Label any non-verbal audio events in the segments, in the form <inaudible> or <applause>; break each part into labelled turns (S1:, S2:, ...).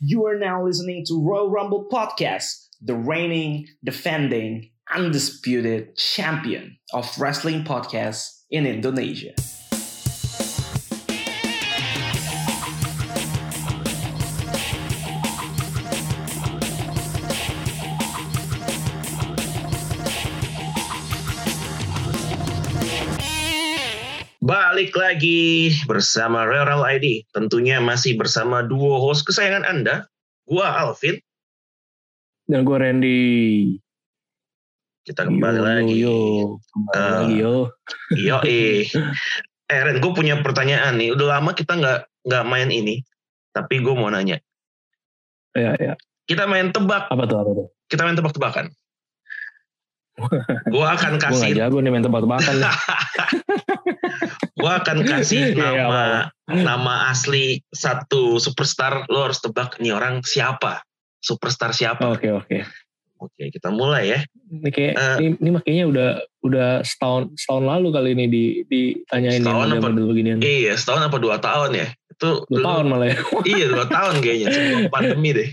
S1: You are now listening to Royal Rumble Podcast, the reigning, defending, undisputed champion of wrestling podcasts in Indonesia.
S2: Balik lagi bersama Real ID. Tentunya masih bersama duo host kesayangan Anda. Gua Alvin.
S3: Dan gue Randy.
S2: Kita kembali
S3: Yo,
S2: lagi.
S3: Yo,
S2: Yo,
S3: Kembali
S2: Eh,
S3: lagi yo.
S2: eh. Eh, Ren, gue punya pertanyaan nih. Udah lama kita nggak nggak main ini. Tapi gue mau nanya.
S3: Ya, ya.
S2: Kita main tebak.
S3: Apa tuh? Apa tuh?
S2: Kita main tebak-tebakan. Gue
S3: Gue
S2: akan
S3: gak
S2: kasih,
S3: jago nih main tebak-tebakan. nih.
S2: <laughs> gue akan kasih
S3: <laughs> Iya, iya,
S2: nama nama asli satu superstar. Lo harus tebak nih orang siapa, superstar siapa.
S3: Oke, Hmm. oke.
S2: Oke, kita mulai ya.
S3: Ini kayak
S2: Eh.
S3: ini, ini makanya udah udah setahun setahun lalu kali ini di ditanyain yang
S2: Setahun
S3: model
S2: apa?
S3: model beginian.
S2: Iya, setahun apa dua tahun ya? Itu
S3: Dua
S2: dulu-
S3: tahun malah ya.
S2: <laughs>
S3: <laughs>
S2: Iya, dua tahun kayaknya sebelum pandemi deh.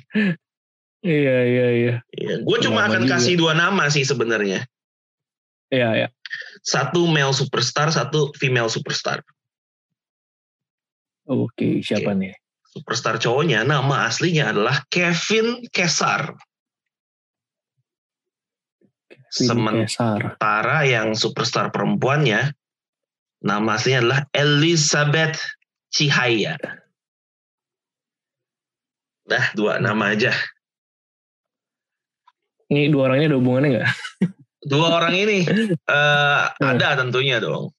S3: iya, iya, iya.
S2: Iya. Gue cuma
S3: Lama
S2: akan
S3: juga.
S2: kasih dua nama sih sebenarnya.
S3: Iya, iya.
S2: Satu male superstar, satu female superstar.
S3: Oke, siapa
S2: Oke.
S3: nih?
S2: Superstar cowoknya nama aslinya adalah Kevin Kesar.
S3: Vin
S2: Sementara
S3: Kesar.
S2: yang superstar perempuannya nama aslinya adalah Elizabeth Cihaya. Nah, dua nama aja.
S3: Ini dua orangnya ada hubungannya nggak?
S2: Dua orang
S3: <laughs>
S2: ini eh, ada tentunya dong.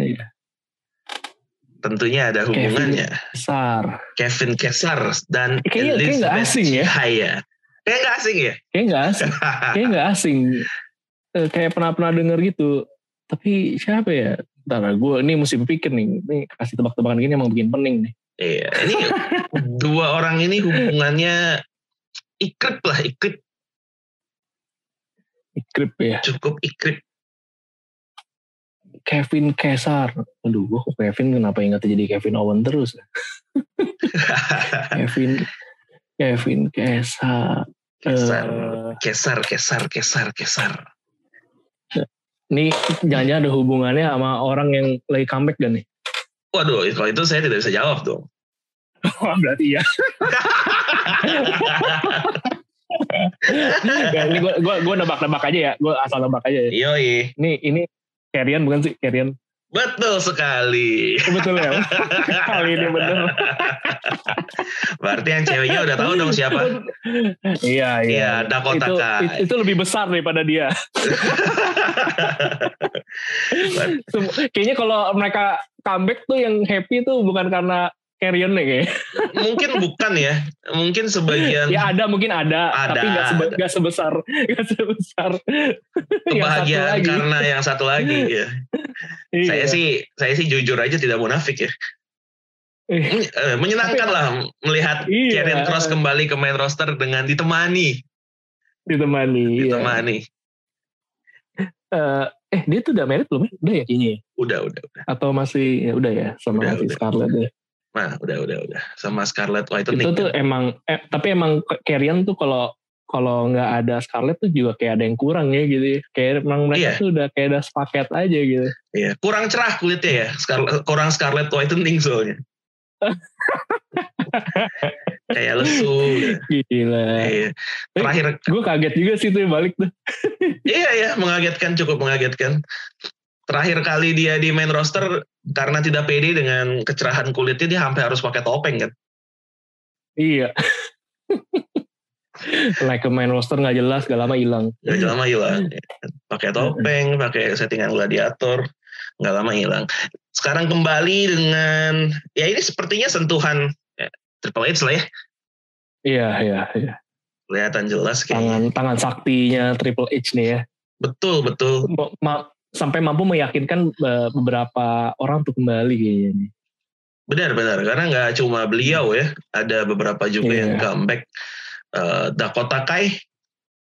S3: Iya.
S2: Tentunya ada
S3: Kevin.
S2: hubungannya.
S3: Kesar.
S2: Kevin Kesar dan
S3: Eh, kayaknya- kayaknya nggak asing ya.
S2: Cahaya. Kayaknya nggak asing ya.
S3: Kayaknya nggak
S2: <laughs>
S3: asing. Kayaknya nggak asing. Eh, kayak pernah pernah denger gitu. Tapi siapa ya? Ntar gue ini mesti berpikir nih. Ini kasih tebak-tebakan gini emang bikin pening nih.
S2: <laughs> iya, ini dua orang ini hubungannya ikrip lah, ikrip
S3: Ikrip ya.
S2: cukup ikrip.
S3: Kevin Kesar. Aduh, gue kok Kevin kenapa ingatnya jadi Kevin Owen terus? Kevin Kevin Kesar.
S2: Kesar,
S3: Eh,
S2: kesar, kesar, kesar, kesar.
S3: Ini jangan-jangan ada hubungannya sama orang yang lagi comeback gak nih?
S2: Waduh, kalau itu saya tidak bisa jawab dong.
S3: Wah, berarti ya. ini gue gua, gua nebak-nebak aja ya. Gue asal nebak aja ya.
S2: Yoi,
S3: Ini ini Carrion bukan sih? Carrion.
S2: betul sekali.
S3: Betul ya. Kali ini bener.
S2: Berarti yang ceweknya udah tahu dong siapa.
S3: Iya, iya.
S2: Iya, Dakota
S3: Itu,
S2: Kai.
S3: it- itu lebih besar daripada dia. Sem- Kayaknya kalau mereka comeback tuh yang happy tuh bukan karena carry-on nih kayaknya.
S2: <laughs> Mungkin bukan ya, mungkin sebagian
S3: Ya ada mungkin ada,
S2: Ada,
S3: tapi nggak sebe-
S2: ada.
S3: nggak sebesar <laughs> nggak sebesar yang satu
S2: kebahagiaan
S3: lagi.
S2: karena yang satu lagi. Ya.
S3: <laughs>
S2: saya
S3: Iya.
S2: sih saya sih jujur aja tidak munafik ya.
S3: Iya.
S2: Men- eh, Menyenangkan lah melihat
S3: Iya.
S2: Karen Cross kembali ke main roster dengan ditemani,
S3: ditemani. iya.
S2: ditemani.
S3: Eh, eh dia tuh udah married belum? ya? Udah ya kayaknya. ya?
S2: Udah, udah, udah.
S3: Atau masih ya udah ya sama
S2: Udah,
S3: si
S2: udah.
S3: Scarlett ya.
S2: Nah, udah, udah, udah. Sama Scarlett White
S3: itu tuh emang eh, tapi emang carry-on tuh kalau kalau nggak ada Scarlett tuh juga kayak ada yang kurang ya gitu. ya. Kayak emang mereka
S2: Iya.
S3: tuh udah kayak ada sepaket aja gitu.
S2: Iya. Kurang cerah kulitnya ya, Scarlett, kurang Scarlett Whitening soalnya.
S3: <laughs>
S2: Kayak lesu. ya.
S3: Gila.
S2: Iya. Terakhir,
S3: Gue kaget juga sih tuh balik tuh.
S2: iya ya, mengagetkan cukup mengagetkan. Terakhir kali dia di main roster karena tidak pede dengan kecerahan kulitnya dia hampir harus pakai topeng kan.
S3: Iya. <laughs> like a main roster nggak jelas, gak lama hilang.
S2: Gak lama hilang. ya kan. Pakai topeng, pakai settingan gladiator, nggak lama hilang. Sekarang kembali dengan ya ini sepertinya sentuhan ya, Triple H lah ya.
S3: Iya, iya, iya.
S2: Kelihatan jelas kayaknya.
S3: Tangan tangan saktinya Triple H nih ya.
S2: Betul, betul.
S3: Ma- ma- sampai mampu meyakinkan eh, beberapa orang untuk kembali kayaknya nih.
S2: Benar, benar. Karena nggak cuma beliau ya, ada beberapa juga
S3: Iya.
S2: yang comeback. Eh, Dakota Kai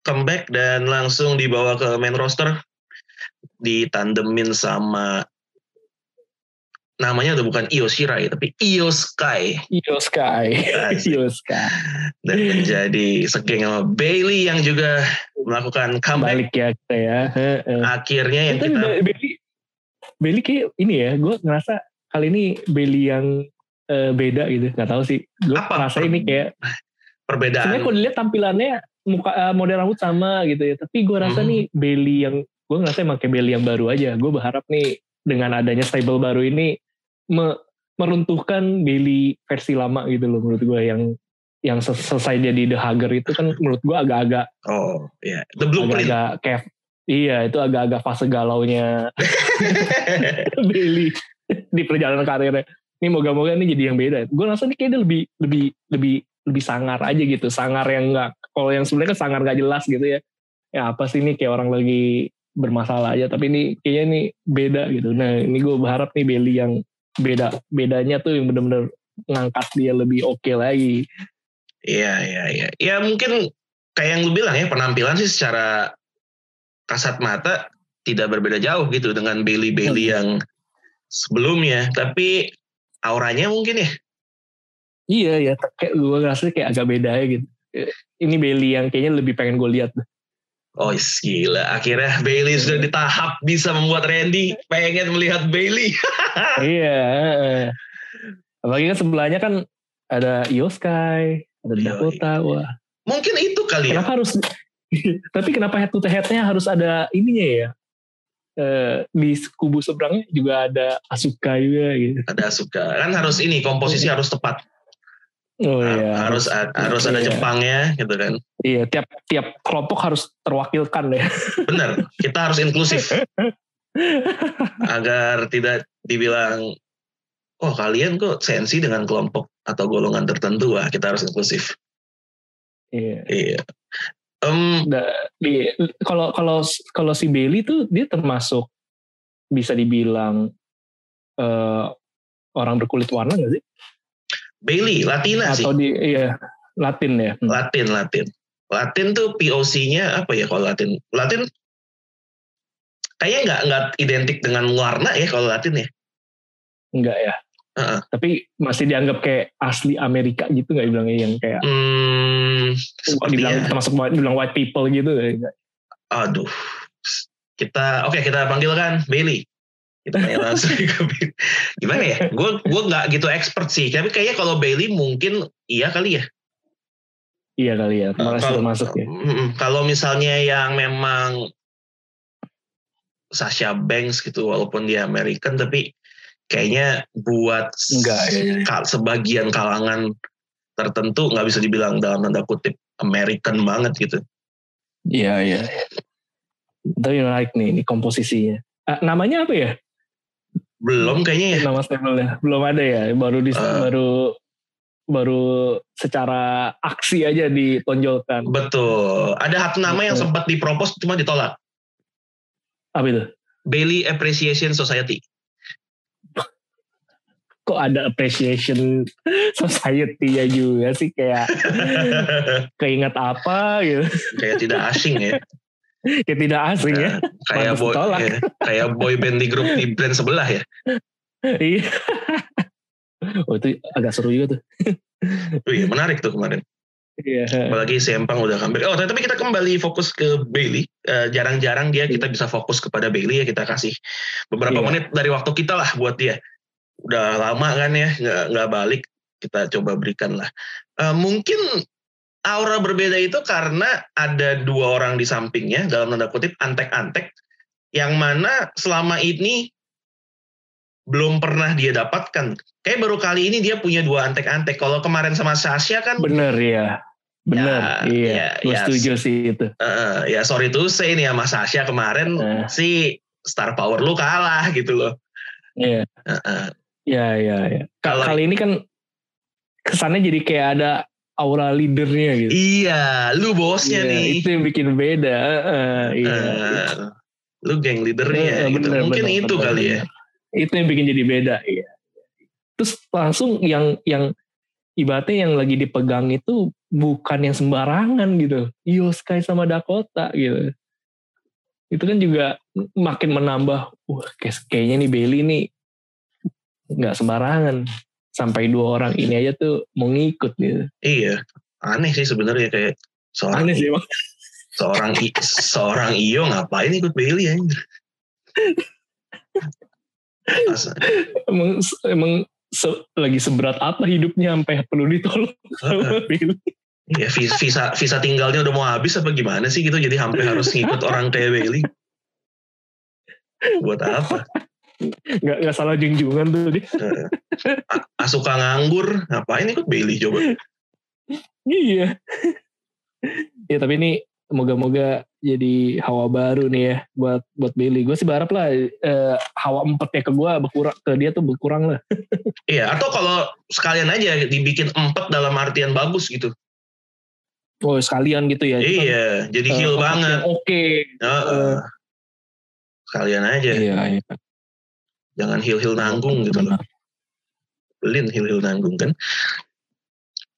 S2: comeback dan langsung dibawa ke main roster ditandemin sama namanya udah bukan Io Shirai tapi Io Sky
S3: Io Sky.
S2: Asik.
S3: Io Sky.
S2: dan
S3: Hmm.
S2: menjadi segeng sama Bailey yang juga melakukan
S3: Balik
S2: comeback
S3: ya kita ya. Heeh.
S2: akhirnya yang
S3: Tapi
S2: kita
S3: Be- Bailey, Bailey kayak ini ya, gue ngerasa kali ini Bailey yang eh, beda gitu, nggak tahu sih. Gue
S2: Apa?
S3: ngerasa ini kayak, sebenarnya
S2: perbedaan
S3: kalau dilihat tampilannya muka eh, model rambut sama gitu ya, tapi gue rasa
S2: Hmm.
S3: nih Bailey yang gue ngerasa emang kayak Bailey yang baru aja. Gue berharap nih dengan adanya stable baru ini me- meruntuhkan Bailey versi lama gitu loh menurut gue yang yang sel- selesai jadi The Hugger itu kan menurut gue agak-agak
S2: oh ya the blueprint
S3: agak-agak kayak iya itu agak-agak fase galaunya Bailey di perjalanan karirnya ini moga-moga ini jadi yang beda gue rasa ini kayaknya dia lebih lebih lebih lebih sangar aja gitu sangar yang enggak kalau yang sebenarnya kan sangar gak jelas gitu ya ya apa sih ini kayak orang lagi bermasalah aja tapi ini kayaknya ini beda gitu nah ini gue berharap nih Bailey yang beda bedanya tuh yang bener-bener ngangkat dia lebih oke lagi
S2: Iya, iya, iya. Ya mungkin kayak yang lu bilang ya penampilan sih secara kasat mata tidak berbeda jauh gitu dengan Bailey Bailey
S3: Hmm.
S2: yang sebelumnya, tapi auranya mungkin ya.
S3: Iya ya, te- kayak gue ngerasa kayak agak beda ya gitu. Eh, Ini Bailey yang kayaknya lebih pengen gue lihat.
S2: Oh is, gila, akhirnya Bailey sudah
S3: Hmm.
S2: di tahap bisa membuat Randy pengen melihat Bailey. <laughs>
S3: iya. heeh. Apalagi kan sebelahnya kan ada Io Sky, ada
S2: Yoi.
S3: Dakota. Wah,
S2: Mungkin itu kali ya.
S3: kenapa harus? <laughs> tapi kenapa head to headnya harus ada ininya ya? Eh, di kubu seberangnya juga ada Asuka juga gitu.
S2: Ada suka kan harus ini komposisi
S3: Hmm.
S2: harus tepat,
S3: Oh iya.
S2: harus harus ada
S3: Iya.
S2: Jepangnya gitu kan.
S3: Iya, tiap tiap kelompok harus terwakilkan ya. <laughs>
S2: Benar, kita harus inklusif agar tidak dibilang, oh kalian kok sensi dengan kelompok atau golongan tertentu ah kita harus inklusif.
S3: Iya.
S2: Iya. Em,
S3: Da- di Iya, kalau kalau kalau si Bailey tuh dia termasuk bisa dibilang eh, orang berkulit warna nggak sih?
S2: Bailey Latina sih,
S3: Atau di iya Latin ya? Hmm.
S2: Latin Latin. Latin tuh POC-nya apa ya kalau Latin? Latin kayaknya nggak nggak identik dengan warna ya kalau Latin ya.
S3: Enggak ya.
S2: Heeh.
S3: Tapi masih dianggap kayak asli Amerika gitu nggak dibilangnya yang kayak
S2: Hmm,
S3: dibilang
S2: sepertinya.
S3: termasuk white, dibilang white people gitu. nggak?
S2: Aduh. Kita oke kita panggilkan Bailey. Kita tanya langsung ke Bailey. Gimana ya? Gue gue nggak gitu expert sih. Tapi kayaknya kalau Bailey mungkin iya kali ya.
S3: Iya kali ya. Terima kasih
S2: Kalau-
S3: termasuk ya.
S2: Mm-mm. Kalau misalnya yang memang Sasha Banks gitu, walaupun dia American, tapi kayaknya buat s-
S3: Nggak, iya,
S2: ka- sebagian kalangan tertentu nggak bisa dibilang dalam tanda kutip American banget gitu.
S3: Iya iya. Tapi menarik nih ini komposisinya. Ah, namanya apa ya?
S2: Belum kayaknya ya.
S3: nama stable belum ada ya baru di
S2: Eh.
S3: baru baru secara aksi aja ditonjolkan
S2: Betul. Ada satu nama yang
S3: Betul.
S2: sempat dipropos cuma ditolak.
S3: apa itu
S2: Bailey Appreciation
S3: <laughs>
S2: Society.
S3: kok ada appreciation <laughs> society ya juga sih kayak keinget apa gitu <laughs>
S2: kayak tidak asing ya.
S3: kayak tidak asing
S2: <laughs>
S3: ya
S2: Kayak
S3: Pantas
S2: boy,
S3: ditolak.
S2: ya, kayak boy band di grup di brand sebelah ya.
S3: iya oh itu agak seru juga tuh
S2: Wih, menarik tuh kemarin.
S3: iya
S2: Apalagi Sempang udah comeback. Oh, tapi kita kembali fokus ke Bailey. Eh, Jarang-jarang dia kita bisa fokus kepada Bailey ya kita kasih
S3: Iya.
S2: beberapa menit dari waktu kita lah buat dia. Udah lama kan ya nggak nggak balik. Kita coba berikan lah. Eh, mungkin aura berbeda itu karena ada dua orang di sampingnya dalam tanda kutip antek-antek yang mana selama ini belum pernah dia dapatkan. Kayak baru kali ini dia punya dua antek-antek. Kalau kemarin sama Sasha kan
S3: bener ya bener
S2: Ya,
S3: iya
S2: ya,
S3: gue
S2: ya.
S3: setuju sih itu
S2: Eh, ya sorry tuh saya ini ya Mas Sasha kemarin
S3: Eh.
S2: si star power lu kalah gitu loh.
S3: iya
S2: Eh, eh.
S3: Ya, ya, ya. Ka-
S2: Kalau-
S3: kali ini kan kesannya jadi kayak ada aura leadernya gitu.
S2: Iya, lu bosnya
S3: Iya,
S2: nih.
S3: Itu yang bikin beda. Heeh, iya.
S2: Eh, lu geng
S3: Iya,
S2: leadernya gitu.
S3: bener,
S2: Mungkin
S3: bener,
S2: itu
S3: bener,
S2: kali ya.
S3: bener. Itu yang bikin jadi beda, iya. Terus langsung yang yang ibaratnya yang lagi dipegang itu bukan yang sembarangan gitu. Io Sky sama Dakota gitu. Itu kan juga makin menambah, wah kayak- kayaknya nih Bailey nih nggak sembarangan sampai dua orang ini aja tuh mau ngikut gitu
S2: Iya, aneh sih sebenarnya kayak seorang
S3: aneh sih emang
S2: seorang I- seorang Iyo ngapain ikut
S3: <laughs>
S2: Bailey anjir. As-
S3: emang, emang se- lagi seberat apa hidupnya sampai perlu ditolong sama Billy
S2: Iya, vi- visa visa tinggalnya udah mau habis apa gimana sih gitu jadi hampir harus ngikut orang kayak Bailey. Buat apa?
S3: <laughs> nggak nggak salah junjungan tuh dia
S2: Eh, A- Asuka nganggur, ngapain ikut Bailey coba?
S3: iya <laughs> ya tapi ini moga-moga jadi hawa baru nih ya buat buat Billy gue sih berharap lah eh, hawa empetnya ke gue berkurang ke dia tuh berkurang lah
S2: Iya, atau kalau sekalian aja dibikin empat dalam artian bagus gitu.
S3: oh sekalian gitu ya Cuman,
S2: Iya, jadi
S3: eh,
S2: heal
S3: tempat
S2: banget.
S3: yang oke
S2: Heeh. Sekalian aja,
S3: iya iya
S2: jangan heal-heal nanggung gitu loh.
S3: benar.
S2: Lin Hill Hill nanggung kan.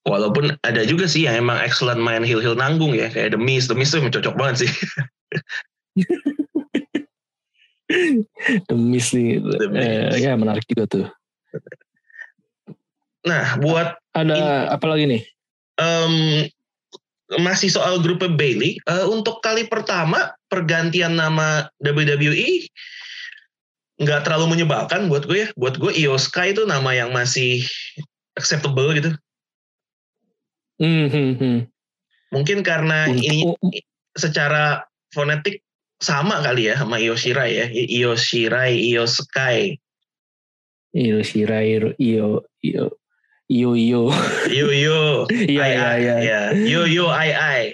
S2: Walaupun ada juga sih yang emang excellent main Hill Hill nanggung ya kayak The Mist, The Mist tuh emang cocok banget sih
S3: demi sih
S2: The
S3: eh,
S2: Mist.
S3: ya menarik juga tuh
S2: Nah buat
S3: ada apa lagi nih
S2: em, masih soal grupnya Bailey, eh, untuk kali pertama pergantian nama WWE nggak terlalu menyebalkan buat gue ya. Buat gue Io Sky itu nama yang masih acceptable gitu.
S3: Hmm, hmm, hmm.
S2: Mungkin karena Nah, ini
S3: Untuk-
S2: secara fonetik sama kali ya sama Io Shirai ya. I- Io Shirai, Io Sky.
S3: Iyo Shirai, Iro- Iyo, Iyo, Iyo,
S2: <laughs>
S3: Iyo,
S2: Yo yo,
S3: iya iya iya,
S2: iya. Yo yo, ai ai.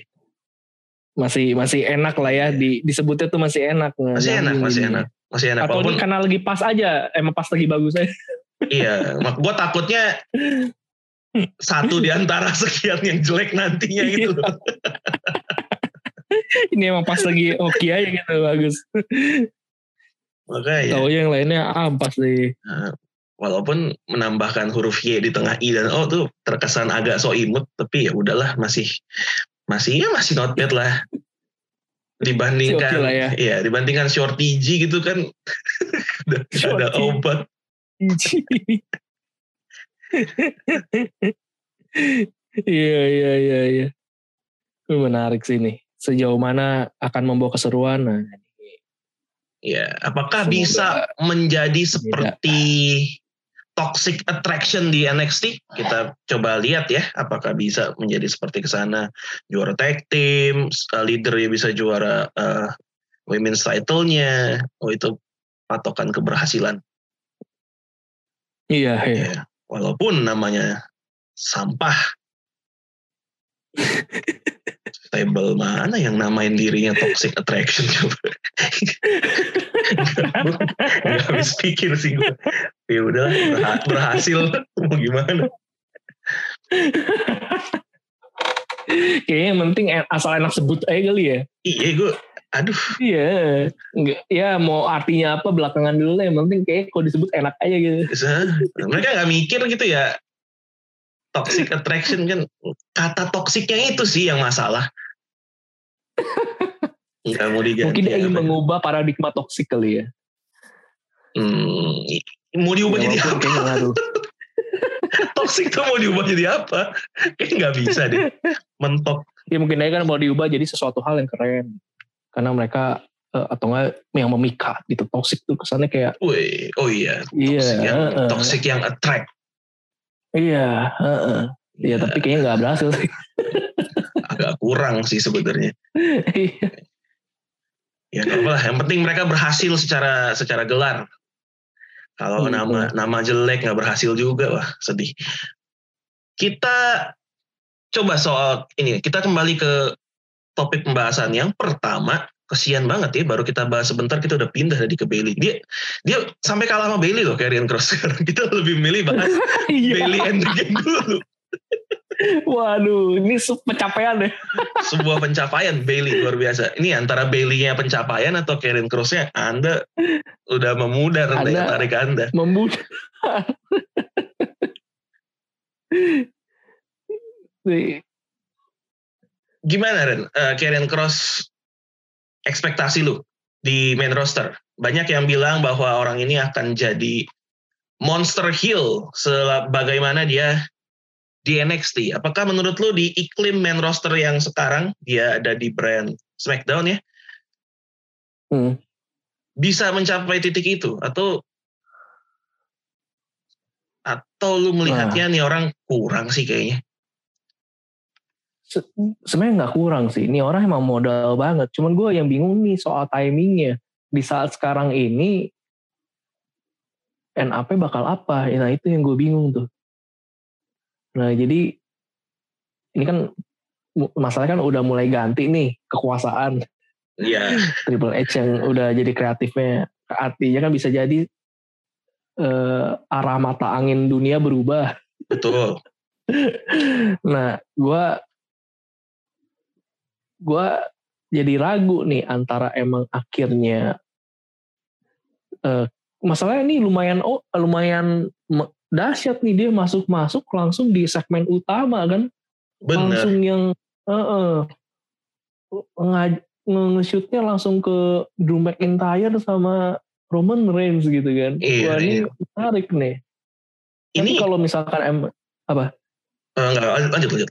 S3: masih masih enak lah ya di, disebutnya tuh masih enak,
S2: Iya.
S3: Nah,
S2: Masih enak,
S3: Nyambung
S2: masih
S3: jadinya.
S2: enak, masih enak.
S3: Atau
S2: Walaupun
S3: ini karena lagi pas aja, emang pas lagi bagus aja.
S2: iya, mak gue takutnya satu di antara sekian yang jelek nantinya
S3: Iya.
S2: gitu. loh.
S3: <laughs> Ini emang pas lagi oke aja gitu bagus.
S2: Makanya, Iya. ya,
S3: Tahu yang lainnya ampas deh. <laughs>
S2: walaupun menambahkan huruf y di tengah i dan o tuh terkesan agak so imut, tapi ya udahlah masih masih ya masih not bad lah
S3: Masih oke
S2: dibandingkan
S3: lah ya.
S2: iya dibandingkan shorty G gitu kan <laughs> udah nggak ada
S3: Shorty.
S2: obat
S3: Iya iya iya iya. Ini Menarik sih nih. Sejauh mana akan membawa keseruan? Nah,
S2: Ya, apakah
S3: Semoga
S2: bisa menjadi seperti toxic attraction di NXT? Kita coba lihat ya, apakah bisa menjadi seperti ke sana juara tag team, s- uh, leadernya bisa juara uh, women's title-nya. Oh, itu patokan keberhasilan.
S3: iya iya.
S2: Ya, walaupun namanya sampah. Stable mana yang namain dirinya toxic attraction coba? Gak habis pikir sih gue. Ya udah berha- berhasil mau gimana?
S3: Kayaknya yang penting en- asal enak sebut aja kali ya.
S2: Iya gue, aduh
S3: Iya. Nggak, ya mau artinya apa belakangan dulu lah. Yang penting kayak kalau disebut enak aja gitu.
S2: bisa. mereka nggak mikir gitu ya. Toxic attraction kan kata toksiknya itu sih yang masalah. Nggak mau diganti. ya
S3: Mungkin dia ingin
S2: apa.
S3: mengubah paradigma toksik kali ya.
S2: Hmm, mau diubah jadi
S3: Walaupun
S2: apa?
S3: iya. Ya kayaknya ngaruh.
S2: <laughs> Toxic tuh mau diubah jadi apa? Kayaknya nggak bisa deh. Mentok.
S3: Ya mungkin aja kan mau diubah jadi sesuatu hal yang keren. Karena mereka eh, atau enggak yang memikat gitu. Toksik tuh kesannya kayak
S2: Woi, oh iya.
S3: iya.
S2: Toxic yang,
S3: eh, eh.
S2: toxic yang attract.
S3: Iya, eh, eh. Iya, tapi kayaknya nggak berhasil sih.
S2: agak kurang sih sebenarnya.
S3: Iya.
S2: Ya nggak apa-apa lah. Yang penting mereka berhasil secara secara gelar. Kalau
S3: Hmm,
S2: nama nama jelek nggak berhasil juga, wah sedih. Kita coba soal ini. Kita kembali ke topik pembahasan yang pertama. Kesian banget ya, baru kita bahas sebentar kita udah pindah tadi ke Bailey. Dia dia sampai kalah sama Bailey loh Karrion Cross. <laughs> Sekarang kita lebih milih bahas
S3: Iya.
S2: Bailey and the Gang dulu.
S3: Waduh, ini sup- pencapaian deh.
S2: sebuah pencapaian Bailey luar biasa. Ini antara Bailey-nya pencapaian atau Karen Cross-nya Anda udah memudar
S3: Anda-
S2: daya tarik Anda.
S3: membunuh. Sih.
S2: Gimana Ren? Eh, Karen Cross ekspektasi lu di main roster. Banyak yang bilang bahwa orang ini akan jadi Monster Hill sebagaimana dia di NXT. Apakah menurut lu di iklim main roster yang sekarang dia ada di brand SmackDown ya
S3: Hmm.
S2: bisa mencapai titik itu atau atau lu melihatnya
S3: Nah.
S2: nih orang kurang sih kayaknya.
S3: Se- Sebenarnya nggak kurang sih. Ini orang emang modal banget. Cuman gue yang bingung nih soal timingnya. Di saat sekarang ini NAP bakal apa? Nah itu yang gue bingung tuh. Nah jadi ini kan mu- masalahnya kan udah mulai ganti nih kekuasaan
S2: Iya,
S3: Triple H yang udah jadi kreatifnya artinya kan bisa jadi eh, arah mata angin dunia berubah. <laughs>
S2: betul.
S3: Nah, gua gua jadi ragu nih antara emang akhirnya eh, masalahnya ini lumayan oh lumayan me- dahsyat nih dia masuk-masuk langsung di segmen utama kan
S2: Bener.
S3: langsung yang heeh ngaj- nge- nge-shootnya langsung ke Drew McIntyre sama Roman Reigns gitu kan.
S2: Iya,
S3: Wah, ini
S2: iya.
S3: menarik nih. Tapi
S2: Ini
S3: kalau misalkan em
S2: eh, enggak lanjut lanjut lanjut.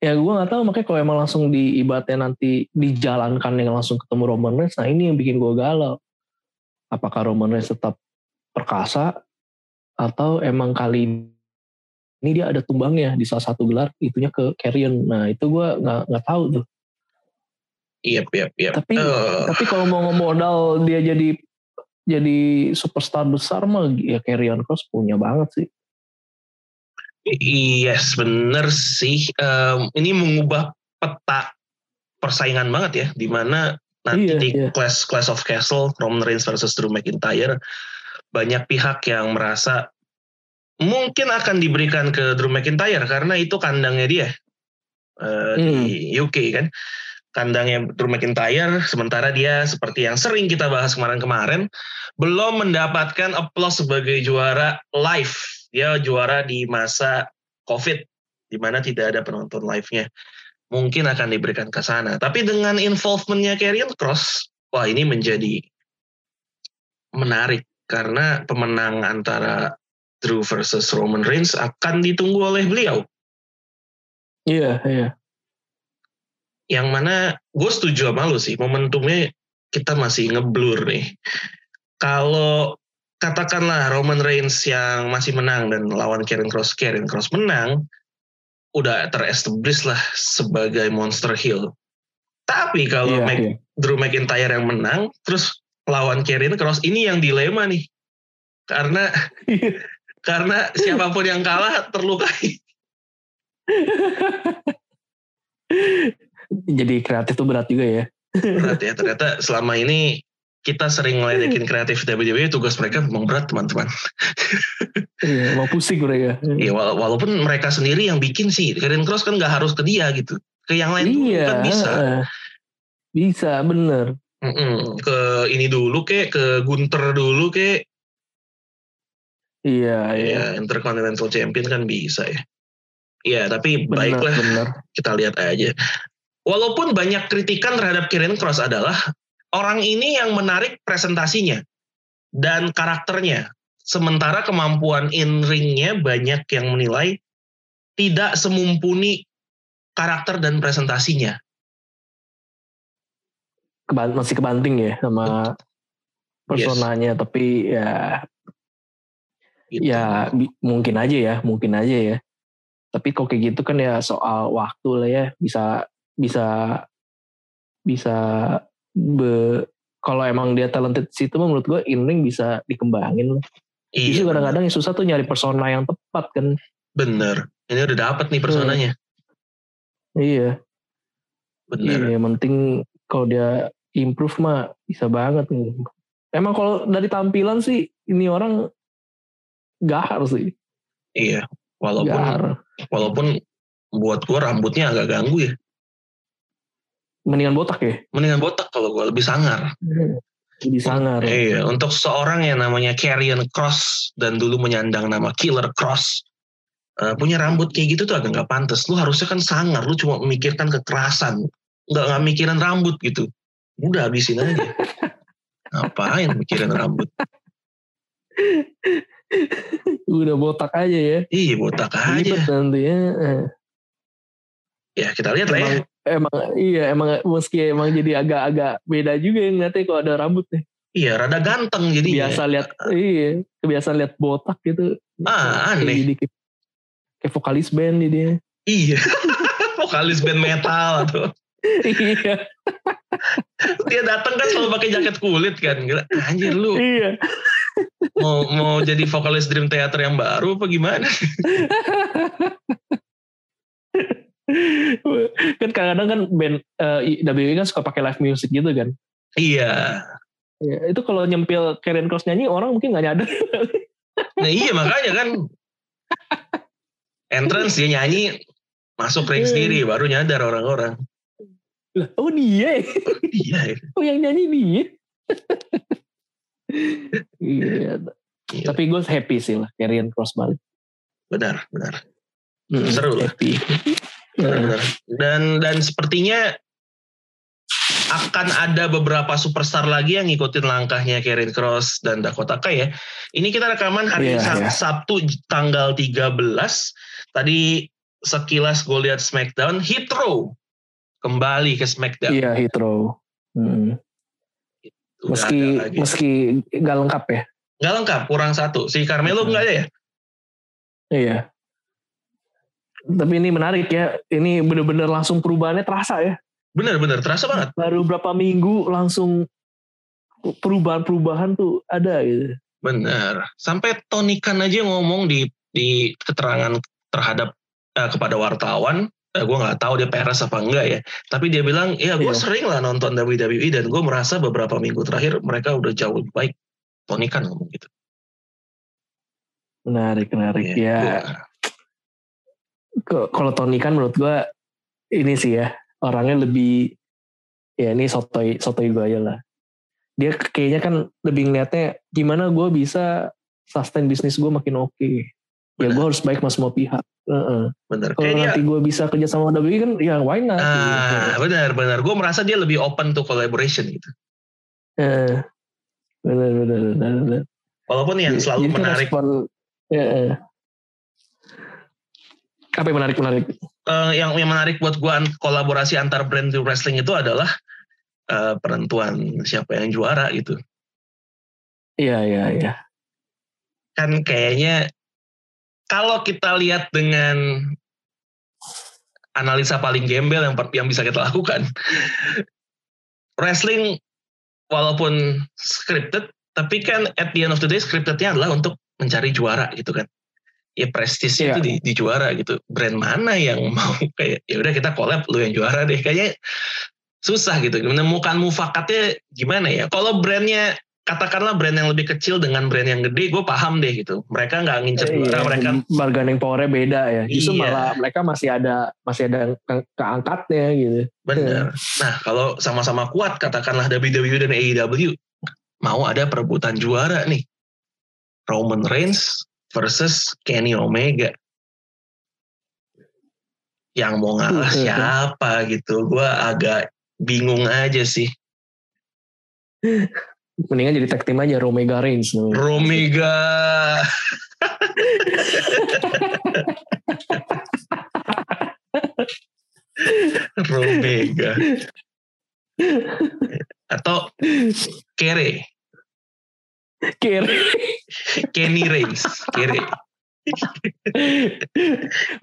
S3: ya gue nggak tahu makanya kalau emang langsung diibatnya nanti dijalankan yang langsung ketemu Roman Reigns, nah ini yang bikin gue galau. Apakah Roman Reigns tetap perkasa atau emang kali ini- ini dia ada tumbangnya di salah satu gelar itunya ke Carrion. Nah itu gue nggak nggak tahu tuh.
S2: Iya, iya, iya.
S3: Tapi-
S2: Eh,
S3: Tapi kalau mau modal dia jadi jadi superstar besar mah ya Carrion Cross punya banget sih.
S2: Yes, bener sih. Em, ini mengubah peta persaingan banget ya, di mana nanti
S3: Iya,
S2: di
S3: iya.
S2: Clash Clash of Castle, Roman Reigns versus Drew McIntyre, banyak pihak yang merasa mungkin akan diberikan ke Drew McIntyre karena itu kandangnya dia Eh, di UK kan, kandangnya Drew McIntyre. Sementara dia seperti yang sering kita bahas kemarin-kemarin, belum mendapatkan applause sebagai juara live. Dia juara di masa COVID, di mana tidak ada penonton live-nya. Mungkin akan diberikan ke sana. Tapi dengan involvement-nya Karrion Cross, wah ini menjadi menarik. Karena pemenang antara Drew versus Roman Reigns akan ditunggu oleh beliau.
S3: Iya iya.
S2: Yang mana gue setuju sama lu sih, momentumnya kita masih ngeblur nih. Kalau katakanlah Roman Reigns yang masih menang dan lawan Karen Cross, Karen Cross menang, udah terestablish lah sebagai monster heel. Tapi
S3: Iya,
S2: kalau Mc-
S3: iya.
S2: Drew McIntyre yang menang, terus lawan Karen Cross ini yang dilema nih. Karena karena siapapun yang kalah <laughs> terlukai.
S3: <laughs> Jadi kreatif tuh berat juga ya.
S2: Berat ya, ternyata selama ini kita sering ngeledekin
S3: Hmm.
S2: kreatif WWE tugas mereka memang berat teman-teman.
S3: Iya, mau pusing mereka.
S2: Ya wala- walaupun mereka sendiri yang bikin sih, Karen Cross kan nggak harus ke dia gitu. Ke yang lain dulu
S3: Iya.
S2: kan bisa.
S3: eh, Bisa bener.
S2: Mm-mm. Ke ini dulu kek, ke Gunter dulu kek,
S3: Iya iya.
S2: ya Intercontinental Champion kan bisa ya. Ya tapi
S3: Bener
S2: baiklah
S3: bener.
S2: kita lihat aja. Walaupun banyak kritikan terhadap Karen Cross adalah orang ini yang menarik presentasinya dan karakternya. Sementara kemampuan in ringnya banyak yang menilai tidak semumpuni karakter dan presentasinya.
S3: Keban- masih kebanting ya sama personanya tapi ya
S2: Gitu.
S3: ya bi- mungkin aja ya mungkin aja ya tapi kok kayak gitu kan ya soal waktu lah ya bisa bisa bisa be kalau emang dia talented di situ mah menurut gue in ring bisa dikembangin lah.
S2: Iya,
S3: Justru kadang-kadang yang susah tuh nyari persona yang tepat kan.
S2: bener. Ini udah dapat nih personanya.
S3: Iya,
S2: Bener.
S3: iya yang penting kalau dia improve mah bisa banget nih. Emang kalau dari tampilan sih ini orang gahar sih,
S2: Iya. Walaupun
S3: gahar.
S2: walaupun buat gua rambutnya agak ganggu ya.
S3: Mendingan botak ya.
S2: Mendingan botak kalau gua lebih sangar.
S3: Lebih sangar.
S2: Hmm. Iya, untuk seorang yang namanya Carrion Cross dan dulu menyandang nama Killer Cross, eh, punya rambut kayak gitu tuh agak nggak pantas. Lu harusnya kan sangar, lu cuma memikirkan kekerasan, nggak nggak mikirin rambut gitu.
S3: <laughs>
S2: Udah habisin aja. Ngapain mikirin rambut?
S3: Udah botak aja ya.
S2: Ih, botak
S3: Ribet
S2: aja.
S3: nanti ya. Eh,
S2: Ya, kita lihat lah ya.
S3: Emang, emang iya emang meski emang jadi agak-agak beda juga yang ngeliatnya kalau ada rambut nih.
S2: Iya, rada ganteng jadi.
S3: Biasa lihat iya, kebiasaan lihat botak gitu.
S2: Ah,
S3: Kayak
S2: aneh.
S3: Jadi kayak, kayak vokalis band ya. jadinya.
S2: Iya. <laughs> Vokalis band metal tuh.
S3: <laughs> iya,
S2: Dia datang kan selalu pakai jaket kulit kan. Gila, Anjir lu
S3: iya.
S2: mau mau jadi vokalis Dream Theater yang baru apa gimana?
S3: kan kadang-kadang kan band eh, I- WB kan suka pakai live music gitu kan.
S2: Iya.
S3: Ya, itu kalau nyempil Karen Cross nyanyi orang mungkin nggak nyadar. <laughs>
S2: Nah, iya makanya kan entrance dia nyanyi masuk ring
S3: Hmm.
S2: sendiri baru nyadar orang-orang.
S3: Lah, oh dia, ya?
S2: Iya.
S3: oh yang nyanyi dia. Iya.
S2: Gila.
S3: Tapi gue happy sih lah Karen Cross balik.
S2: Benar, benar.
S3: Mm,
S2: Hmm, Seru lah. <laughs>
S3: Happy.
S2: benar,
S3: Eh,
S2: benar. Dan dan sepertinya akan ada beberapa superstar lagi yang ngikutin langkahnya Karen Cross dan Dakota Kai ya. Ini kita rekaman hari
S3: Iya, iya.
S2: Sab- Sabtu j- tanggal 13. Tadi sekilas gue lihat SmackDown, Hitro kembali ke SmackDown.
S3: Iya Hitro. Mm.
S2: Udah
S3: Meski
S2: ada lagi.
S3: meski nggak lengkap ya.
S2: Nggak lengkap, kurang satu. Si Carmelo
S3: Hmm.
S2: nggak ada ya?
S3: Iya. Tapi ini menarik ya. Ini bener-bener langsung perubahannya terasa ya.
S2: Bener-bener, terasa banget.
S3: baru berapa minggu langsung perubahan-perubahan tuh ada gitu.
S2: Bener. Sampai Tony Khan aja ngomong di di keterangan terhadap eh, kepada wartawan, eh, gue nggak tahu dia peres apa enggak ya. Tapi dia bilang, ya gue
S3: Iya.
S2: sering lah nonton WWE dan gue merasa beberapa minggu terakhir mereka udah jauh lebih baik. Tony Khan ngomong gitu.
S3: Menarik, menarik. Ya,
S2: Iya. Gua-
S3: ke- kalau Tony kan menurut gua ini sih ya orangnya lebih ya ini sotoy sotoy gue aja lah. Dia kayaknya kan lebih ngeliatnya gimana gua bisa sustain bisnis gua makin oke. Ya
S2: Benar.
S3: gue harus baik sama semua pihak. Heeh.
S2: Bener.
S3: Kalau
S2: Kayaknya,
S3: nanti gua bisa kerja sama WWE kan ya why not?
S2: ah,
S3: gitu.
S2: bener, bener. Gue merasa dia lebih open to collaboration gitu.
S3: Heeh. Benar, benar, benar, benar.
S2: Walaupun yang
S3: Iya,
S2: selalu
S3: jadi kan
S2: menarik
S3: respon, ya, ya. Apa yang menarik menarik?
S2: eh, yang yang menarik buat gua an- kolaborasi antar brand di wrestling itu adalah eh, penentuan siapa yang juara gitu.
S3: Iya iya iya.
S2: Kan kayaknya kalau kita lihat dengan analisa paling gembel yang per- yang bisa kita lakukan, wrestling walaupun scripted, tapi kan at the end of the day scriptednya adalah untuk mencari juara gitu kan. Ya
S3: Iya.
S2: prestisnya itu di, di juara gitu. Brand mana yang mau <laughs> kayak ya udah kita collab lu yang juara deh kayaknya susah gitu menemukan mufakatnya gimana ya kalau brandnya katakanlah brand yang lebih kecil dengan brand yang gede gue paham deh gitu mereka nggak ngincer juara
S3: Iya,
S2: mereka
S3: bargaining powernya beda ya. Justru
S2: Iya.
S3: malah mereka masih ada masih ada ke- keangkatnya gitu.
S2: bener nah kalau sama-sama kuat katakanlah WWE dan AEW mau ada perebutan juara nih Roman Reigns versus Kenny Omega yang mau ngalah
S3: Betul.
S2: siapa gitu gue agak bingung aja sih
S3: Mendingan jadi tag team aja Romega Reigns.
S2: Nah. Romega Romega atau Kere
S3: Kir.
S2: Kenny Reigns Kere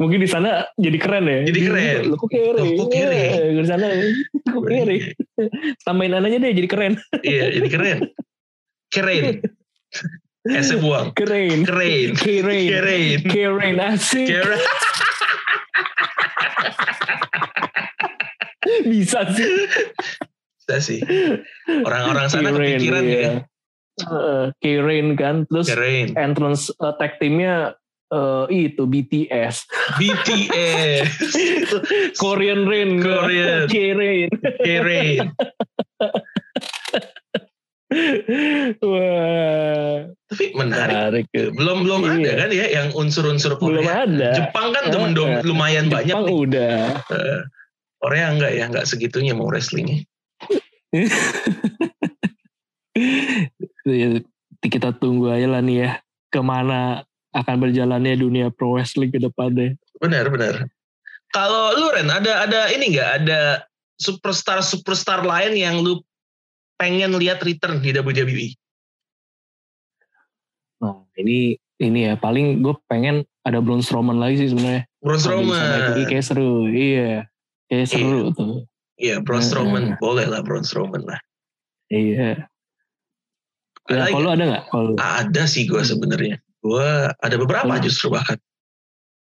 S3: Mungkin di sana jadi keren ya.
S2: Jadi keren.
S3: Lu kok kiri?
S2: Loh, kok kiri?
S3: Iya, Di sana lu kok kiri. Tambahin anaknya deh jadi keren.
S2: iya jadi keren keren S buang
S3: Keren.
S2: keren
S3: Keren.
S2: keren
S3: Keren asik.
S2: keren
S3: Bisa sih.
S2: Bisa sih orang-orang sana
S3: Kirain,
S2: kepikiran
S3: iya.
S2: ya
S3: Heeh, Kirain kan, terus
S2: keren
S3: entrance uh, tag teamnya eh, itu BTS,
S2: BTS Itu
S3: Korean Rain,
S2: Korean.
S3: Kirain.
S2: keren
S3: Wah,
S2: tapi menarik
S3: menarik.
S2: belum belum ada
S3: Iya.
S2: kan ya yang unsur-unsur
S3: Belum
S2: Korea
S3: ada.
S2: Jepang kan temen dom-
S3: Iya.
S2: lumayan banyak
S3: Jepang
S2: nih.
S3: udah.
S2: Eh, Korea enggak ya enggak segitunya mau wrestlingnya
S3: Iya. kita tunggu aja lah nih ya kemana akan berjalannya dunia pro wrestling ke depannya.
S2: Benar, benar. Kalau lu Ren, ada ada ini nggak ada superstar superstar lain yang lu pengen lihat return di E? WWE?
S3: Nah ini ini ya paling gue pengen ada Braun Strowman lagi sih sebenarnya.
S2: Braun
S3: Kalau bisa naik lagi
S2: Strowman,
S3: kayak seru, iya, kayak seru tuh,
S2: iya Braun Strowman boleh lah Braun Strowman lah.
S3: iya.
S2: Ada
S3: Nah,
S2: lagi?
S3: kalau Hmm. ada nggak? Kalau
S2: Ada sih gue sebenarnya. Gue ada beberapa
S3: Hmm.
S2: justru bahkan.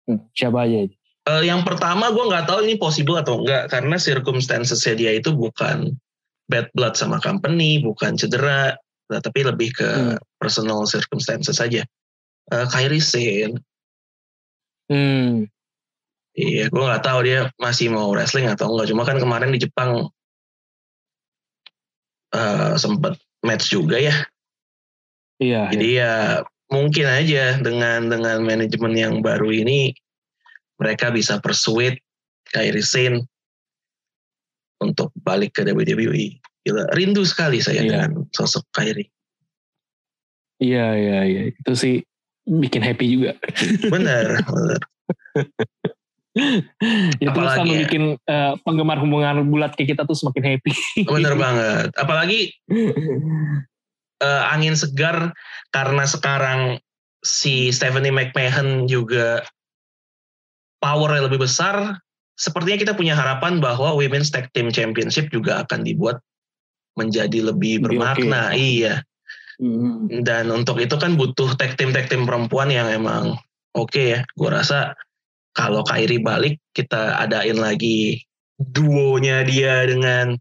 S3: Hmm, siapa aja?
S2: Eh, yang pertama gue nggak tahu ini possible atau enggak karena circumstances dia itu bukan bad blood sama company, bukan cedera, nah, tapi lebih ke
S3: Hmm.
S2: personal circumstances saja. Eh Kairi Sane,
S3: Hmm,
S2: iya gue nggak tahu dia masih mau wrestling atau enggak. Cuma kan kemarin di Jepang eh sempat match juga ya.
S3: iya.
S2: Jadi ya mungkin aja dengan dengan manajemen yang baru ini mereka bisa persuade Kairi Sane untuk balik ke WWE. Gila, rindu sekali saya
S3: Iya.
S2: dengan sosok Kairi.
S3: Iya, iya, iya. Itu sih bikin happy juga.
S2: Benar, benar.
S3: Itu
S2: Apalagi
S3: sama
S2: ya.
S3: bikin eh, penggemar hubungan bulat kayak kita tuh semakin happy. <laughs>
S2: Benar banget. Apalagi eh, angin segar karena sekarang si Stephanie McMahon juga power yang lebih besar. Sepertinya kita punya harapan bahwa Women's Tag Team Championship juga akan dibuat menjadi lebih
S3: Lebih
S2: bermakna. Iya.
S3: Hmm,
S2: Dan untuk itu kan butuh tag team tag team perempuan yang emang oke ya. Gue rasa kalau Kairi balik kita adain lagi duonya dia dengan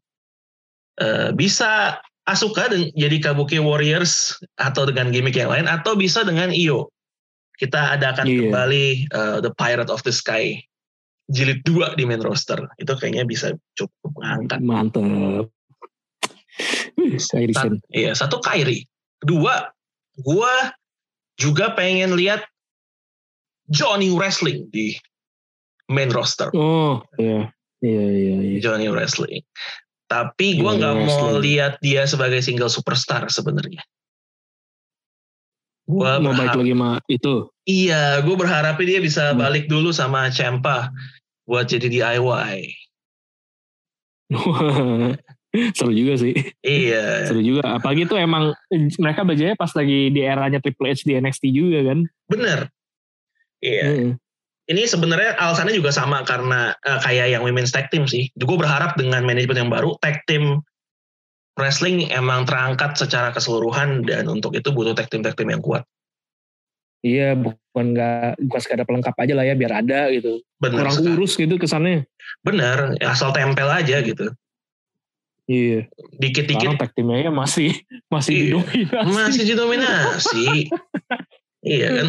S2: eh, bisa Asuka dan jadi Kabuki Warriors atau dengan gimmick yang lain atau bisa dengan Io. Kita adakan
S3: Iya.
S2: kembali eh, The Pirate of the Sky jilid 2 di main roster. Itu kayaknya bisa cukup mengangkat.
S3: mantep. Saya Sen.
S2: Sat- Iya, satu Kairi. Kedua, gua juga pengen lihat Johnny Wrestling di main roster.
S3: Oh, iya. Iya, iya, iya.
S2: Johnny Wrestling. Tapi gua
S3: Johnny
S2: nggak mau
S3: Wrestling.
S2: lihat dia sebagai single superstar sebenarnya. Gua
S3: Mau
S2: berharap,
S3: balik lagi sama itu. <laughs>
S2: iya, gue berharap dia bisa
S3: Hmm.
S2: balik dulu sama Champa buat jadi DIY.
S3: seru juga sih.
S2: Iya,
S3: Seru juga. Apalagi tuh emang eh, mereka berjaya pas lagi di eranya Triple H di NXT juga kan.
S2: bener. Iya.
S3: Heeh.
S2: ini sebenarnya alasannya juga sama karena eh, kayak yang women's tag team sih. Gue berharap dengan manajemen yang baru tag team wrestling emang terangkat secara keseluruhan dan untuk itu butuh tag team tag team yang kuat.
S3: Iya, bukan nggak bukan sekadar pelengkap aja lah ya biar ada gitu.
S2: Bener,
S3: Kurang
S2: sekali.
S3: urus gitu kesannya.
S2: bener, asal tempel aja gitu.
S3: Iya. Sekarang
S2: Dikit-dikit
S3: tag teamnya ya masih masih
S2: Iya.
S3: didominasi.
S2: masih didominasi. iya kan.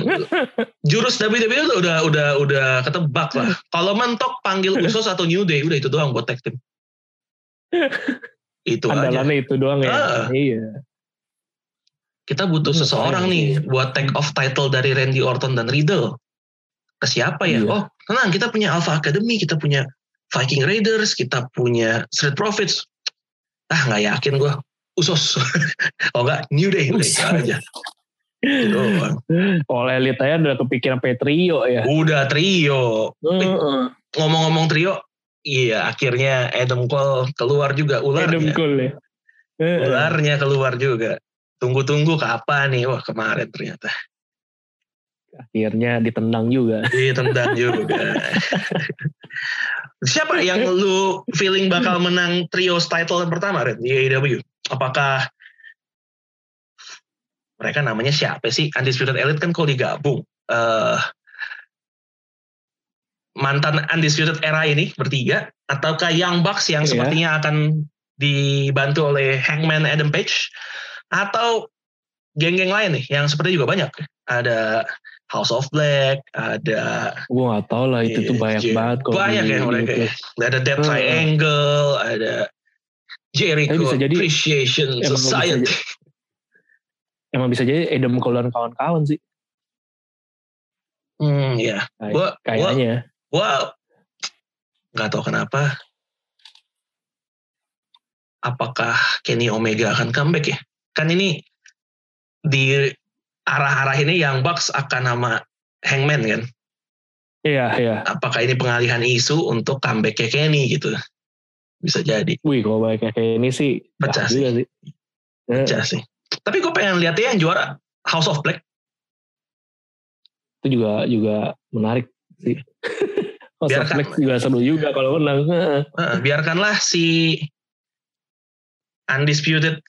S2: Jurus WWE udah udah udah, udah ketebak lah. Kalau mentok panggil Usos atau New Day udah itu doang buat tag team. itu aja.
S3: Andalannya itu doang ya.
S2: Ah.
S3: Iya.
S2: kita butuh
S3: Bener,
S2: seseorang
S3: saya
S2: nih
S3: juga.
S2: buat take off title dari Randy Orton dan Riddle. Ke siapa ya?
S3: Iya.
S2: Oh, tenang, kita punya Alpha Academy, kita punya Viking Raiders, kita punya Street Profits. Ah, nggak yakin gue. Usos. <laughs> oh enggak, New Day. Udah, itu
S3: Usos.
S2: aja. Itu doang.
S3: Oleh Elite aja udah kepikiran Petrio ya.
S2: Udah trio.
S3: Heeh.
S2: Ngomong-ngomong trio, iya akhirnya Adam Cole keluar juga
S3: Adam
S2: ularnya.
S3: Cole ya. Heeh.
S2: Ularnya keluar juga. Tunggu-tunggu kapan nih? Wah, kemarin ternyata.
S3: Akhirnya ditendang juga.
S2: ditendang Iya, juga. Siapa yang lu feeling bakal menang trios title yang pertama Red di AEW? Apakah mereka namanya siapa sih? Undisputed Elite kan kalau digabung. eh mantan Undisputed Era ini bertiga ataukah Young Bucks yang
S3: Iya.
S2: sepertinya akan dibantu oleh Hangman Adam Page atau geng-geng lain nih yang sepertinya juga banyak. Ada House of Black, ada
S3: Gue gak tau lah itu tuh
S2: Iya,
S3: banyak
S2: iya.
S3: banget. kalau
S2: Banyak
S3: di-
S2: ya
S3: di-
S2: mereka ya. ada Dead
S3: Hmm.
S2: Triangle, ada Jericho
S3: Tapi bisa jadi-
S2: Appreciation
S3: emang bisa
S2: Society.
S3: jadi- Emang bisa jadi Adam Cole dan kawan-kawan sih.
S2: Hmm, ya.
S3: Kayak-
S2: Gua, gua,
S3: Kayaknya.
S2: gua nggak tahu kenapa. Apakah Kenny Omega akan comeback ya? Kan ini di arah-arah ini yang Bucks akan sama Hangman kan.
S3: Iya, iya.
S2: Apakah ini pengalihan isu untuk comeback-nya Kenny gitu. Bisa jadi.
S3: Wih, kalau banyak kayak ini sih.
S2: Pecah
S3: dah
S2: sih.
S3: juga sih. Eh,
S2: Aja sih. Tapi gue pengen lihatnya yang juara House of Black.
S3: itu juga juga menarik sih. <laughs> House of
S2: Biarkan.
S3: Flex juga seru juga kalau menang. Heeh.
S2: Heeh, biarkanlah si Undisputed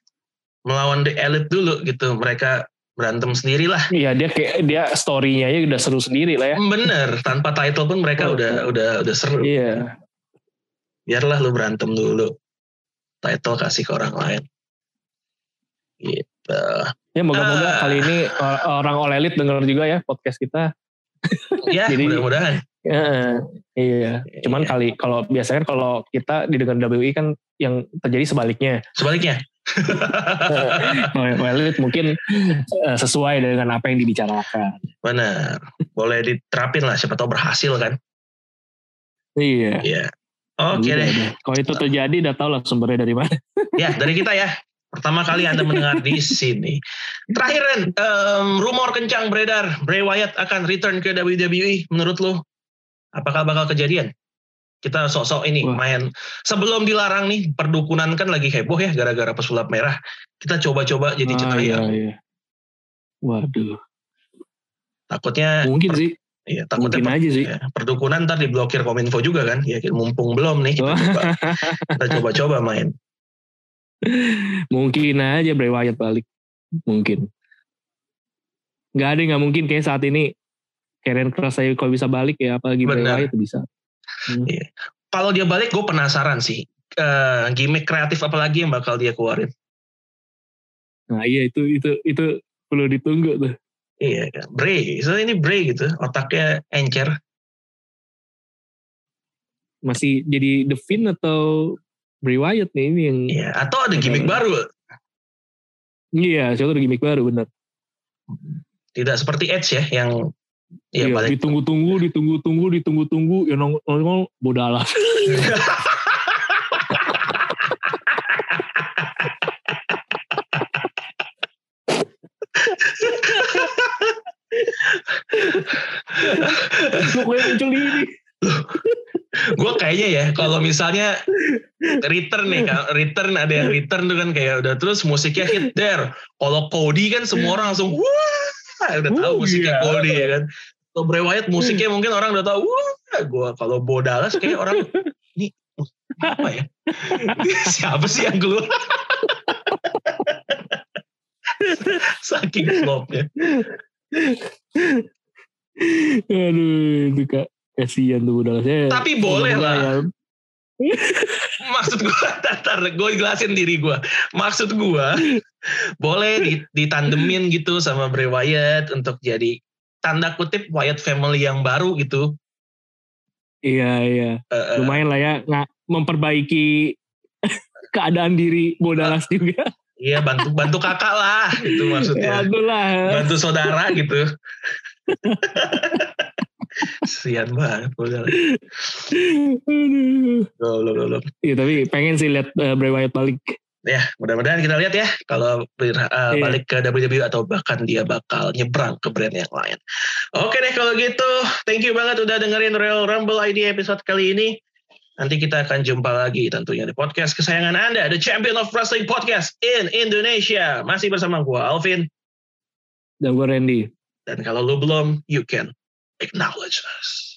S2: melawan The Elite dulu gitu. Mereka berantem sendirilah.
S3: Iya dia kayak dia story-nya aja udah seru sendiri lah ya.
S2: Bener, tanpa title pun mereka
S3: Oh.
S2: udah udah udah seru.
S3: Iya.
S2: Biarlah lu berantem dulu. Title kasih ke orang lain. Gitu.
S3: Ya moga-moga
S2: Ah.
S3: kali ini or- orang oleh elit denger juga ya podcast kita.
S2: Ya,
S3: Jadi-
S2: mudah-mudahan.
S3: Heeh. iya. Cuman
S2: Iya.
S3: kali kalau biasanya kan kalau kita didengar WI kan yang terjadi
S2: <laughs>
S3: sebaliknya.
S2: sebaliknya.
S3: Oleh oleh elit mungkin eh, sesuai dengan apa yang dibicarakan.
S2: Bener. Boleh diterapin lah siapa tahu berhasil kan.
S3: Iya.
S2: Iya. Oke deh.
S3: Kalau itu terjadi udah tau lah sumbernya dari mana.
S2: Ya, dari kita ya. Pertama kali Anda mendengar
S3: <laughs>
S2: di sini. Terakhir, Ren, em, rumor kencang beredar. Bray Wyatt akan return ke WWE. Menurut lo, apakah bakal kejadian? Kita sok-sok ini
S3: Wah.
S2: main. Sebelum dilarang nih, perdukunan kan lagi heboh ya gara-gara pesulap merah. Kita coba-coba jadi ya.
S3: Ah,
S2: ceria.
S3: iya, iya. Waduh.
S2: Takutnya,
S3: Mungkin sih.
S2: ya,
S3: Mungkin
S2: takutnya Eh, per-
S3: aja sih.
S2: ya, perdukunan ntar diblokir Kominfo juga kan. Ya, mumpung
S3: <laughs>
S2: belum nih, kita coba. Kita coba-coba main.
S3: Mungkin aja Bray Wyatt balik. Mungkin. Gak ada yang gak mungkin kayak saat ini. Karen Cross aja kalau bisa balik ya. Apalagi Bray
S2: Benar.
S3: Wyatt bisa.
S2: Kalau dia balik, gue penasaran sih. Eh, gimmick kreatif apalagi yang bakal dia keluarin.
S3: Nah iya itu itu itu perlu ditunggu tuh.
S2: Iya, kan. Bray. So ini Bray gitu, otaknya encer.
S3: Masih jadi The Finn atau Bray Wyatt nih ini yang
S2: Iya, atau ada gimmick
S3: Benar.
S2: baru.
S3: iya contoh gimmick baru benar.
S2: Tidak seperti Edge ya yang ya
S3: Iya,
S2: balik.
S3: ditunggu-tunggu, ditunggu-tunggu, ditunggu-tunggu, ya nong- nongol bodalah. Pokoknya muncul ini.
S2: Gue kayaknya ya kalau misalnya return nih, kan, return ada yang return tuh kan kayak udah terus musiknya hit there. Kalau Cody kan semua orang langsung wah udah tahu
S3: Oh,
S2: musiknya
S3: iya.
S2: Cody ya kan. Kalau Bray Wyatt musiknya mungkin orang udah tahu. Wah, gua kalau Bo Dallas kayak orang ini apa ya? Siapa sih yang keluar? <laughs> Saking flopnya.
S3: Aduh, itu kak. Kasian tuh bodalah. Saya-
S2: Tapi boleh
S3: Bodalah
S2: lah.
S3: ya.
S2: Maksud <laughs> gue, tatar, gue jelasin diri gue. Maksud gue, boleh di- ditandemin gitu sama Bray Wyatt untuk jadi tanda kutip Wyatt family yang baru gitu.
S3: Iya, iya.
S2: Eh, eh,
S3: Lumayan lah ya. nga- memperbaiki keadaan diri bodalas juga.
S2: Iya bantu bantu kakak lah gitu maksudnya.
S3: Waduh lah.
S2: Bantu saudara gitu. <laughs> Sian banget. Udah,
S3: Aduh.
S2: Loh, loh, loh, loh.
S3: Iya tapi pengen sih lihat eh, Bray Wyatt balik.
S2: Ya mudah-mudahan kita lihat ya kalau eh,
S3: Iya.
S2: balik ke WWE atau bahkan dia bakal nyebrang ke brand yang lain. Oke deh kalau gitu, thank you banget udah dengerin Royal Rumble ID episode kali ini. Nanti kita akan jumpa lagi tentunya di podcast kesayangan Anda, The Champion of Wrestling Podcast in Indonesia. Masih bersama gua Alvin
S3: Dan gue Randy.
S2: dan kalau lu belum, you can acknowledge us.